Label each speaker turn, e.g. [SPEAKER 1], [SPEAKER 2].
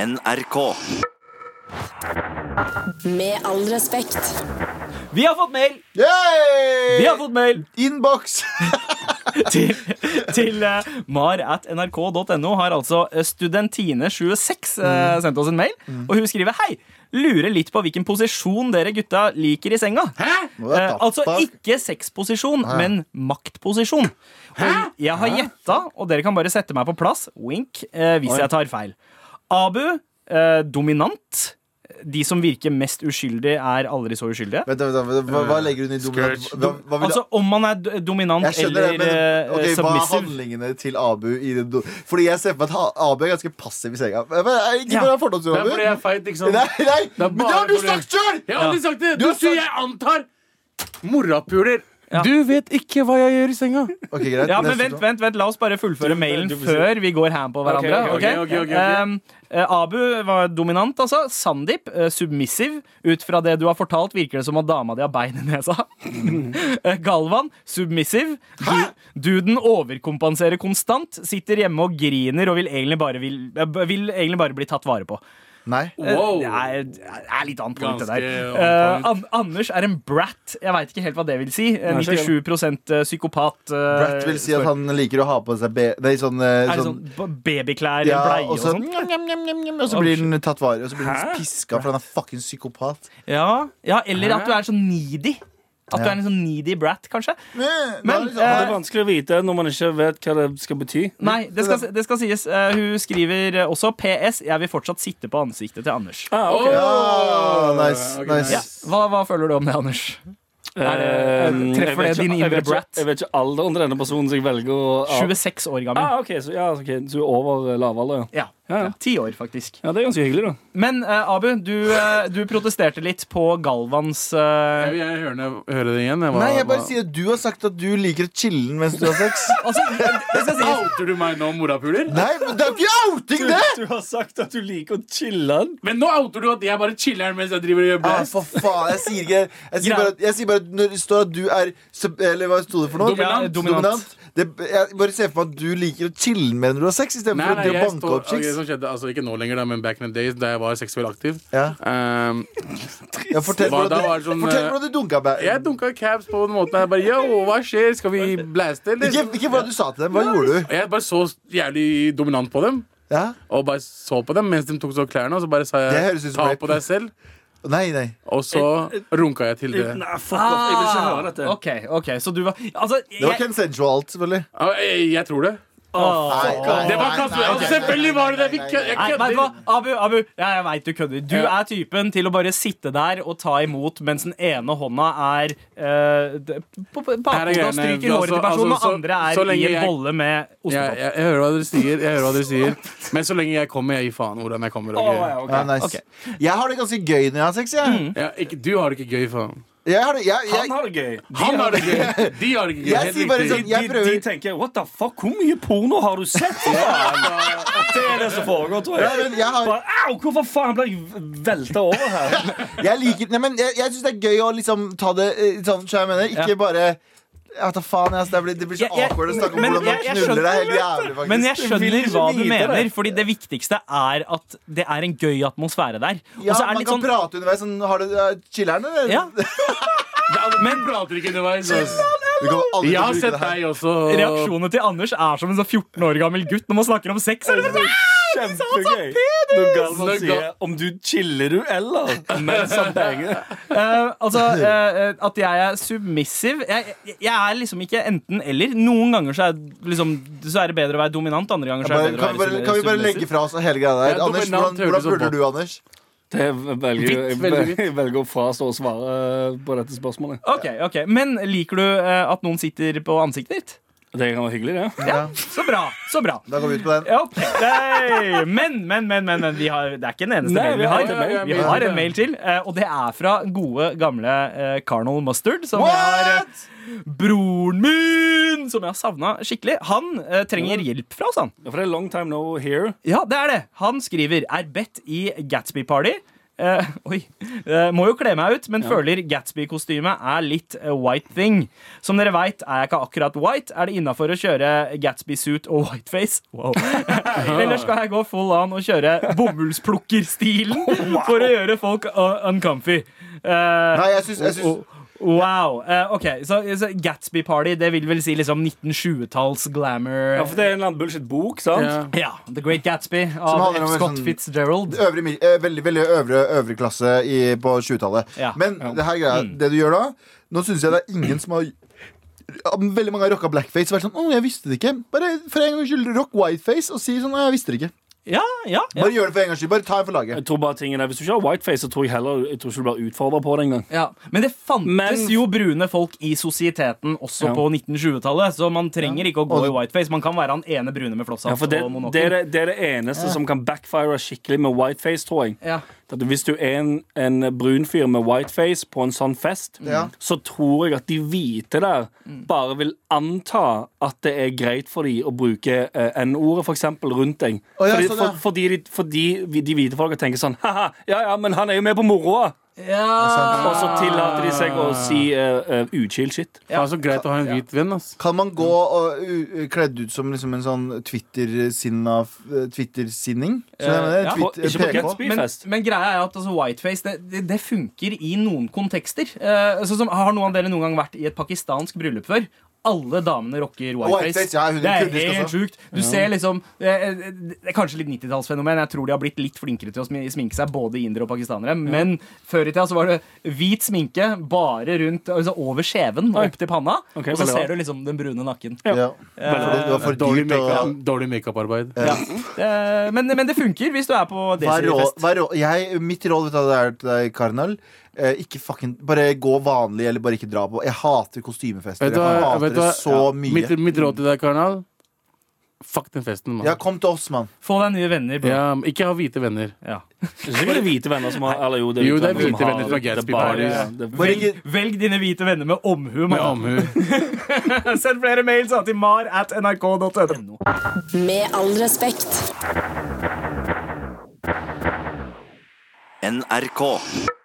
[SPEAKER 1] NRK.
[SPEAKER 2] Med all respekt.
[SPEAKER 3] Vi har fått mail!
[SPEAKER 4] Yay!
[SPEAKER 3] Vi
[SPEAKER 4] Eh.
[SPEAKER 3] har fått mail
[SPEAKER 4] Innboks!
[SPEAKER 3] til, til eh, mar at nrk.no har altså Studentine26 eh, sendt oss en mail. Og hun skriver hei. Lurer litt på hvilken posisjon dere gutta liker i senga.
[SPEAKER 4] What
[SPEAKER 3] Eh,
[SPEAKER 4] the
[SPEAKER 3] altså
[SPEAKER 4] fuck?
[SPEAKER 3] ikke sexposisjon, men maktposisjon. Og jeg har gjetta, og dere kan bare sette meg på plass, wink, eh, hvis
[SPEAKER 4] Oi.
[SPEAKER 3] jeg tar feil. Abu, eh, dominant. De som virker mest uskyldige, er aldri så uskyldige.
[SPEAKER 4] Vent, vent, vent, hva, hva legger hun i dominant? Hva, hva vil du-
[SPEAKER 3] Altså om man er d- dominant
[SPEAKER 4] jeg skjønner
[SPEAKER 3] eller
[SPEAKER 4] det, men
[SPEAKER 3] eh,
[SPEAKER 4] ok, Hva er
[SPEAKER 3] submissive.
[SPEAKER 4] handlingene til Abu? I det do Fordi jeg ser for meg at ha- Abu er ganske passiv i senga. Men, jeg- ikke
[SPEAKER 3] Ja.
[SPEAKER 4] bare fordomsfull,
[SPEAKER 5] Det er
[SPEAKER 4] Abu.
[SPEAKER 5] fordi jeg er feit, ikke sant?
[SPEAKER 4] Nei, nei,
[SPEAKER 5] er
[SPEAKER 4] men det
[SPEAKER 5] bare
[SPEAKER 4] har du
[SPEAKER 5] fordi-
[SPEAKER 4] sagt sjøl!
[SPEAKER 5] Jeg har aldri sagt det!
[SPEAKER 4] Du
[SPEAKER 5] Du
[SPEAKER 4] har
[SPEAKER 5] sier
[SPEAKER 4] sagt-
[SPEAKER 5] jeg antar! Morapuler.
[SPEAKER 3] Ja.
[SPEAKER 5] Du vet ikke hva jeg gjør i senga.
[SPEAKER 4] Ok, greit.
[SPEAKER 3] Ja, men
[SPEAKER 4] Neste
[SPEAKER 3] vent,
[SPEAKER 4] spørsmål.
[SPEAKER 3] vent, vent, la oss bare fullføre mailen
[SPEAKER 5] du får si-
[SPEAKER 3] før vi går ham på hverandre.
[SPEAKER 5] Ok,
[SPEAKER 3] ok?
[SPEAKER 5] ok, ok, ok, ok.
[SPEAKER 3] Ehm, eh, Abu var dominant, altså. Sandeep eh, submissive. Ut fra det du har fortalt, virker det som at dama di har bein i nesa. Eh, Galvan submissive. Du, duden overkompenserer konstant. Sitter hjemme og griner og vil egentlig bare, vil, eh, vil egentlig bare bli tatt vare på.
[SPEAKER 4] Nei.
[SPEAKER 5] Wow.
[SPEAKER 3] Eh, Det er, det er litt annet point, det
[SPEAKER 5] Ganske
[SPEAKER 3] der.
[SPEAKER 5] annet
[SPEAKER 3] Eh, An Anders er en brat. Jeg veit ikke helt hva det vil si. Eh,
[SPEAKER 5] Nei, så
[SPEAKER 3] 97 psykopat. eh,
[SPEAKER 4] Bratt vil si at han liker å ha på seg be nei, sånn, eh,
[SPEAKER 3] Er det
[SPEAKER 4] sånn
[SPEAKER 3] sånn ba- babyklær,
[SPEAKER 4] ja,
[SPEAKER 3] en bleie
[SPEAKER 4] og
[SPEAKER 3] og
[SPEAKER 4] så,
[SPEAKER 3] sånn?
[SPEAKER 4] njam, njam, njam, njam, njam, og så
[SPEAKER 3] Oh,
[SPEAKER 4] blir han tatt vare Og så blir han piska, for han er fucking psykopat.
[SPEAKER 3] Ja, ja, eller at du er sånn needy. At du
[SPEAKER 4] Ja.
[SPEAKER 3] er en sånn needy brat, kanskje.
[SPEAKER 4] Men,
[SPEAKER 3] Men,
[SPEAKER 4] da er det
[SPEAKER 3] eh,
[SPEAKER 4] sånn-
[SPEAKER 6] Det er vanskelig å vite når man ikke vet hva det skal bety.
[SPEAKER 3] Nei, det skal, det skal sies. Eh, hun skriver eh, også PS. Jeg vil fortsatt sitte på ansiktet til Anders.
[SPEAKER 6] Ah, ok.
[SPEAKER 4] Ja, nice,
[SPEAKER 5] Ok,
[SPEAKER 4] nice.
[SPEAKER 3] Ja, hva, hva føler du om det, Anders? er det-
[SPEAKER 6] Um,
[SPEAKER 3] treffer
[SPEAKER 6] jeg
[SPEAKER 3] det
[SPEAKER 6] vet
[SPEAKER 3] din
[SPEAKER 6] ikke- jeg
[SPEAKER 3] indre
[SPEAKER 6] vet ikke-
[SPEAKER 3] brat?
[SPEAKER 6] Jeg vet ikke alderen til denne personen, så jeg velger å
[SPEAKER 3] 26 år gammel.
[SPEAKER 6] Ah, ok, så, ja, ok, så du er over eh, lavalder, ja.
[SPEAKER 3] Ja.
[SPEAKER 6] Ja, ja.
[SPEAKER 3] ja. Ti år, faktisk.
[SPEAKER 6] ja. Det er ganske hyggelig, da.
[SPEAKER 3] Men eh, Abu, du, eh, du protesterte litt på Galvans eh,
[SPEAKER 5] Jeg vil gjerne høre, det- høre det igjen.
[SPEAKER 4] Nei, jeg bare sier at du har sagt at du liker å chille mens du har sex.
[SPEAKER 3] Altså, det skal sies
[SPEAKER 5] Outer du meg nå, morapuler?
[SPEAKER 4] Nei, men det er jo ikke outing, det!
[SPEAKER 6] Du har sagt at du liker å chille den.
[SPEAKER 5] Men nå outer du at jeg bare chiller'n mens jeg driver og gjør
[SPEAKER 4] Ah,
[SPEAKER 5] blæst.
[SPEAKER 4] for faen, jeg sier ikke Jeg sier
[SPEAKER 3] Greit.
[SPEAKER 4] bare at, jeg sier bare at når det står at du er sub- Eller hva sto det for noe?
[SPEAKER 5] Dominant.
[SPEAKER 3] Ja, dominant.
[SPEAKER 4] Det, jeg bare ser for meg at du liker å chille med når du har sex,
[SPEAKER 5] Nei,
[SPEAKER 4] istedenfor å
[SPEAKER 5] nei,
[SPEAKER 4] drive
[SPEAKER 5] jeg
[SPEAKER 4] og banke
[SPEAKER 5] står-
[SPEAKER 4] opp chicks.
[SPEAKER 5] ok, det som skjedde, altså Ikke nå lenger, da, men back in the days da jeg var seksuelt aktiv.
[SPEAKER 4] Ja.
[SPEAKER 5] Ehm,
[SPEAKER 4] Ja, fortell
[SPEAKER 5] Hva, da
[SPEAKER 4] hvordan
[SPEAKER 5] var
[SPEAKER 4] du,
[SPEAKER 5] det sånn,
[SPEAKER 4] fortell
[SPEAKER 5] eh,
[SPEAKER 4] hvordan du dunka meg.
[SPEAKER 5] jeg dunka caps på den måten. Jeg bare Yo, hva skjer? Skal vi blaste, eller?
[SPEAKER 4] Ikke, ikke hva du sa til dem. Hva gjorde du?
[SPEAKER 5] Og Jeg bare så jævlig dominant på dem.
[SPEAKER 4] Ja?
[SPEAKER 5] Og bare så på dem mens de tok så klærne, og så bare sa
[SPEAKER 4] Det høres
[SPEAKER 5] jeg
[SPEAKER 4] ut som
[SPEAKER 5] ta
[SPEAKER 4] rape.
[SPEAKER 5] på deg selv.
[SPEAKER 4] Nei, nei.
[SPEAKER 5] Og så runka jeg til det.
[SPEAKER 3] Ah,
[SPEAKER 6] Nei, fuck off. Jeg vil ikke høre dette.
[SPEAKER 3] OK, ok, så du var Altså, jeg,
[SPEAKER 4] Det var consensualt, selvfølgelig.
[SPEAKER 5] Ja, Jeg, eh, jeg tror det.
[SPEAKER 3] Åh.
[SPEAKER 4] Nei, nei,
[SPEAKER 5] Det var
[SPEAKER 4] nei,
[SPEAKER 5] kanskje,
[SPEAKER 4] nei,
[SPEAKER 5] altså, Selvfølgelig var det det! Vi
[SPEAKER 4] nei,
[SPEAKER 5] kø- Jeg
[SPEAKER 3] Nei, vet du hva?
[SPEAKER 5] kødder.
[SPEAKER 3] Abu, Abu, ja, jeg vet du kødder. Du
[SPEAKER 5] Ja.
[SPEAKER 3] er typen til å bare sitte der og ta imot mens den ene hånda er eh, d- på på-
[SPEAKER 5] Her er
[SPEAKER 3] bakhodet og
[SPEAKER 5] greiene.
[SPEAKER 3] stryker håret til
[SPEAKER 5] Altså,
[SPEAKER 3] personen,
[SPEAKER 5] altså, så-
[SPEAKER 3] og andre
[SPEAKER 5] så
[SPEAKER 3] er i
[SPEAKER 5] lenge
[SPEAKER 3] en
[SPEAKER 5] jeg-
[SPEAKER 3] bolle med
[SPEAKER 5] Jeg,
[SPEAKER 3] ostepop.
[SPEAKER 5] jeg, jeg hører hva dere sier, jeg hører hva dere sier. Men så lenge jeg kommer, jeg gir faen hvordan jeg
[SPEAKER 6] Ah,
[SPEAKER 5] kommer. ok?
[SPEAKER 4] Ja, nice.
[SPEAKER 3] Ok.
[SPEAKER 4] Jeg har det ganske gøy når jeg har sex. Jeg,
[SPEAKER 5] Ja, ikke, du har det ikke gøy, faen.
[SPEAKER 4] jeg, har det, jeg, jeg,
[SPEAKER 6] Han har det gøy. De,
[SPEAKER 5] Han har det gøy! De har det ikke gøy.
[SPEAKER 4] Jeg
[SPEAKER 5] helt
[SPEAKER 4] sier bare
[SPEAKER 5] riktig.
[SPEAKER 4] sånn, jeg
[SPEAKER 6] de, de
[SPEAKER 4] prøver
[SPEAKER 6] tenker What the fuck, hvor mye porno har du sett? For faen? Det er det som foregår, tror
[SPEAKER 4] ja,
[SPEAKER 6] jeg.
[SPEAKER 4] men jeg, har,
[SPEAKER 6] Bare, Au, hvorfor faen ble jeg velta over her?
[SPEAKER 4] jeg liker Nei, men jeg, jeg syns det er gøy å liksom ta det eh, sånn som jeg mener. Ikke bare jeg vet da faen, jeg, altså, det, blir, det blir så
[SPEAKER 3] Jeg- jeg-
[SPEAKER 4] awkward å snakke om
[SPEAKER 3] men
[SPEAKER 4] hvordan man
[SPEAKER 3] jeg- jeg
[SPEAKER 4] knuller. Det er helt
[SPEAKER 3] skjønner
[SPEAKER 4] jævlig, faktisk.
[SPEAKER 3] Men jeg
[SPEAKER 6] vil
[SPEAKER 3] skjønner
[SPEAKER 6] ikke
[SPEAKER 3] hva du
[SPEAKER 6] vite det.
[SPEAKER 3] mener, fordi det viktigste er at det er en gøy atmosfære der. Og
[SPEAKER 4] ja,
[SPEAKER 3] så er
[SPEAKER 4] man
[SPEAKER 3] det litt
[SPEAKER 4] kan
[SPEAKER 3] sånn
[SPEAKER 4] prate underveis. Sånn, har du uh, chiller'n, eller?
[SPEAKER 3] ja,
[SPEAKER 5] Men prater ikke underveis. ass.
[SPEAKER 4] Vi kommer aldri
[SPEAKER 5] Jeg
[SPEAKER 4] til å
[SPEAKER 5] har
[SPEAKER 4] bruke
[SPEAKER 5] sett
[SPEAKER 4] det her.
[SPEAKER 5] deg også.
[SPEAKER 3] Reaksjonene til Anders er som en sånn 14 år gammel gutt når man snakker om sex. Er det bare sånn,
[SPEAKER 6] Kjempegøy. Når Galvan
[SPEAKER 5] Når
[SPEAKER 6] sier
[SPEAKER 5] Gal-
[SPEAKER 6] om du chiller du eller mens han banger.
[SPEAKER 3] Eh, altså, eh, eh, at jeg er submissive jeg, jeg- jeg er liksom ikke enten-eller. Noen ganger så er, liksom, så er det bedre å være dominant, andre ganger så er
[SPEAKER 4] Bare,
[SPEAKER 3] det bedre
[SPEAKER 4] kan,
[SPEAKER 3] å
[SPEAKER 4] vi
[SPEAKER 3] være
[SPEAKER 4] bare, kan vi bare legge
[SPEAKER 3] submissive.
[SPEAKER 4] fra oss hele greia der?
[SPEAKER 5] Ja,
[SPEAKER 4] Anders, hvordan,
[SPEAKER 5] dominant
[SPEAKER 4] hvordan
[SPEAKER 5] høres ut som
[SPEAKER 4] puler du, Anders?
[SPEAKER 6] Det velger, jeg,
[SPEAKER 5] Hvitt, veldig hvitt.
[SPEAKER 6] jeg velger å frastå å svare eh, på dette spørsmålet.
[SPEAKER 3] Ok, ok, Men liker du eh, at noen sitter på ansiktet ditt?
[SPEAKER 6] Det kan være hyggelig, det.
[SPEAKER 3] Ja, Så bra. så bra
[SPEAKER 4] Da går vi ut på den.
[SPEAKER 3] Ja, ok. Nei, Men, men, men, men, men vi har, det er ikke den eneste
[SPEAKER 6] Nei,
[SPEAKER 3] mailen
[SPEAKER 6] vi
[SPEAKER 3] vi
[SPEAKER 6] har
[SPEAKER 3] har.
[SPEAKER 6] en mail.
[SPEAKER 3] Vi har en mail til, eh, og det er fra gode, gamle eh, Carnal Mustard. Som jeg har eh, Broren min! Som jeg har savna skikkelig. Han eh, trenger hjelp fra oss, han.
[SPEAKER 6] For det er long time no here.
[SPEAKER 3] Ja, det er det. Han skriver er bedt i Gatsby-party. eh, Oi. Eh, må jo kle meg ut, men føler Gatsby-kostymet er litt eh, white thing. Som dere veit, er jeg ikke akkurat white. Er det innafor å kjøre Gatsby-suit og whiteface? Wow. Eller skal jeg gå full an og kjøre bomullsplukkerstilen for å gjøre folk uh, uncomfy? Eh,
[SPEAKER 4] Nei, jeg syns, jeg syns
[SPEAKER 3] Wow. Eh, ok, så, så Gatsby Party, det vil vel si liksom 1920-talls glamour
[SPEAKER 6] Ja, for det er en eller annen bullshit-bok, sant?
[SPEAKER 5] Ja.
[SPEAKER 3] Ja, The Great Gatsby av
[SPEAKER 4] handler om en
[SPEAKER 3] Scott
[SPEAKER 4] sånn-
[SPEAKER 3] Fitzgerald.
[SPEAKER 4] øvre, mil- eh, veldig, veldig øvre, øvre klasse i, på 20-tallet.
[SPEAKER 3] Ja. Mm.
[SPEAKER 4] Men det her greia, det du gjør da Nå syns jeg det er ingen som har ja, Veldig mange har rocka blackface og vært sånn Å, jeg visste det ikke. Bare for en gangs skyld rock whiteface og si sånn Å, jeg visste det ikke.
[SPEAKER 3] Ja, ja, ja.
[SPEAKER 4] Bare gjør det for en gangs skyld. Bare ta en for laget.
[SPEAKER 6] Jeg tror bare tingen er, Hvis du ikke har whiteface, så tror jeg heller Jeg tror ikke du blir utfordra på det engang.
[SPEAKER 3] ja. Men det fantes
[SPEAKER 6] Men-
[SPEAKER 3] jo brune folk i sosieteten også
[SPEAKER 6] Ja.
[SPEAKER 3] på 1920-tallet, så man trenger ikke å gå
[SPEAKER 4] Og-
[SPEAKER 3] i whiteface. Man kan være han ene brune med
[SPEAKER 6] Ja,
[SPEAKER 3] flosshatt
[SPEAKER 6] for det,
[SPEAKER 3] og
[SPEAKER 6] det, er
[SPEAKER 3] monokkel.
[SPEAKER 6] det, det er det eneste som kan backfire skikkelig med whiteface, tror jeg.
[SPEAKER 3] Ja.
[SPEAKER 6] At hvis du er en, en brun fyr med whiteface på en sånn fest,
[SPEAKER 4] Ja.
[SPEAKER 6] så tror jeg at de hvite der bare vil anta at det er greit for dem å bruke eh, N-ordet, for eksempel, rundt deg.
[SPEAKER 4] Å, ja,
[SPEAKER 6] fordi,
[SPEAKER 4] sånn, ja.
[SPEAKER 6] for, fordi, de, fordi vi- de hvite folka tenker sånn Haha, ja ja, men han er jo med på moroa!
[SPEAKER 3] Ja.
[SPEAKER 6] Og
[SPEAKER 4] Ah.
[SPEAKER 6] så tillater de seg å si uh, uchill shit.
[SPEAKER 5] Det er så greit å ha en hvit venn, ass.
[SPEAKER 4] Kan man gå og, u- u- kledd ut som liksom en sånn Twitter-sinna eh, Twitter-sinning? Så jeg mener,
[SPEAKER 3] ja,
[SPEAKER 4] tweet-
[SPEAKER 6] på- ikke
[SPEAKER 4] PK.
[SPEAKER 6] på Gatsby.
[SPEAKER 3] Men,
[SPEAKER 6] Byfest.
[SPEAKER 3] men greia er at altså, whiteface det, det, det funker i noen kontekster. Eh, sånn som, har noen av dere noen gang vært i et pakistansk bryllup før? Alle damene rocker whiteface.
[SPEAKER 4] Whiteface, ja, hun er
[SPEAKER 3] det er
[SPEAKER 4] kurdisk
[SPEAKER 3] helt
[SPEAKER 4] også.
[SPEAKER 3] sjukt. Du ser liksom Det er, det er kanskje litt 90-tallsfenomen. Jeg tror de har blitt litt flinkere til å smi- sminke seg, både indere og pakistanere. Men før i tida så var det hvit sminke bare rundt altså over skjeven og
[SPEAKER 6] Oi.
[SPEAKER 3] opp til panna.
[SPEAKER 6] Ok,
[SPEAKER 3] og så
[SPEAKER 6] veldig
[SPEAKER 3] ser
[SPEAKER 6] bra.
[SPEAKER 3] du liksom den brune nakken.
[SPEAKER 4] Ja. For det, det var for
[SPEAKER 5] Dårlig
[SPEAKER 4] dyrt å
[SPEAKER 5] makeup- dårlig makeup-arbeid.
[SPEAKER 3] Ja. Eh, men, men det funker hvis du er på
[SPEAKER 4] Hva er rå-
[SPEAKER 3] Desiree-fest.
[SPEAKER 4] hva er rå- jeg, mitt råd vet du, hva det er til deg, Karnal. Eh, ikke fucking, bare gå vanlig, eller bare ikke dra på. Jeg hater kostymefester.
[SPEAKER 5] Vet du
[SPEAKER 4] jeg
[SPEAKER 5] hva?
[SPEAKER 4] hater
[SPEAKER 5] Vet du
[SPEAKER 4] det
[SPEAKER 5] hva?
[SPEAKER 4] så
[SPEAKER 5] Ja.
[SPEAKER 4] mye.
[SPEAKER 5] Mitt, mitt råd til deg, Karnal Fuck den festen,
[SPEAKER 4] Ja,
[SPEAKER 5] mann.
[SPEAKER 4] kom til oss, mann.
[SPEAKER 3] Få deg nye venner. Bro.
[SPEAKER 5] Ja, ikke ha hvite venner.
[SPEAKER 3] Ja.
[SPEAKER 6] Det er ikke bare hvite venner som har Eller jo, det er,
[SPEAKER 5] Jo, det er
[SPEAKER 6] som
[SPEAKER 5] hvite
[SPEAKER 6] har-
[SPEAKER 5] venner fra
[SPEAKER 6] det er
[SPEAKER 5] Gatsby
[SPEAKER 6] bare-
[SPEAKER 5] Parties.
[SPEAKER 6] ja, det er
[SPEAKER 4] Bare
[SPEAKER 6] hvite-
[SPEAKER 4] ikke,
[SPEAKER 3] Velg dine hvite venner med omhu.
[SPEAKER 5] Med
[SPEAKER 3] mann.
[SPEAKER 5] omhu.
[SPEAKER 3] Send flere mail til mar at nrk.no.
[SPEAKER 2] Med all respekt.
[SPEAKER 1] NRK.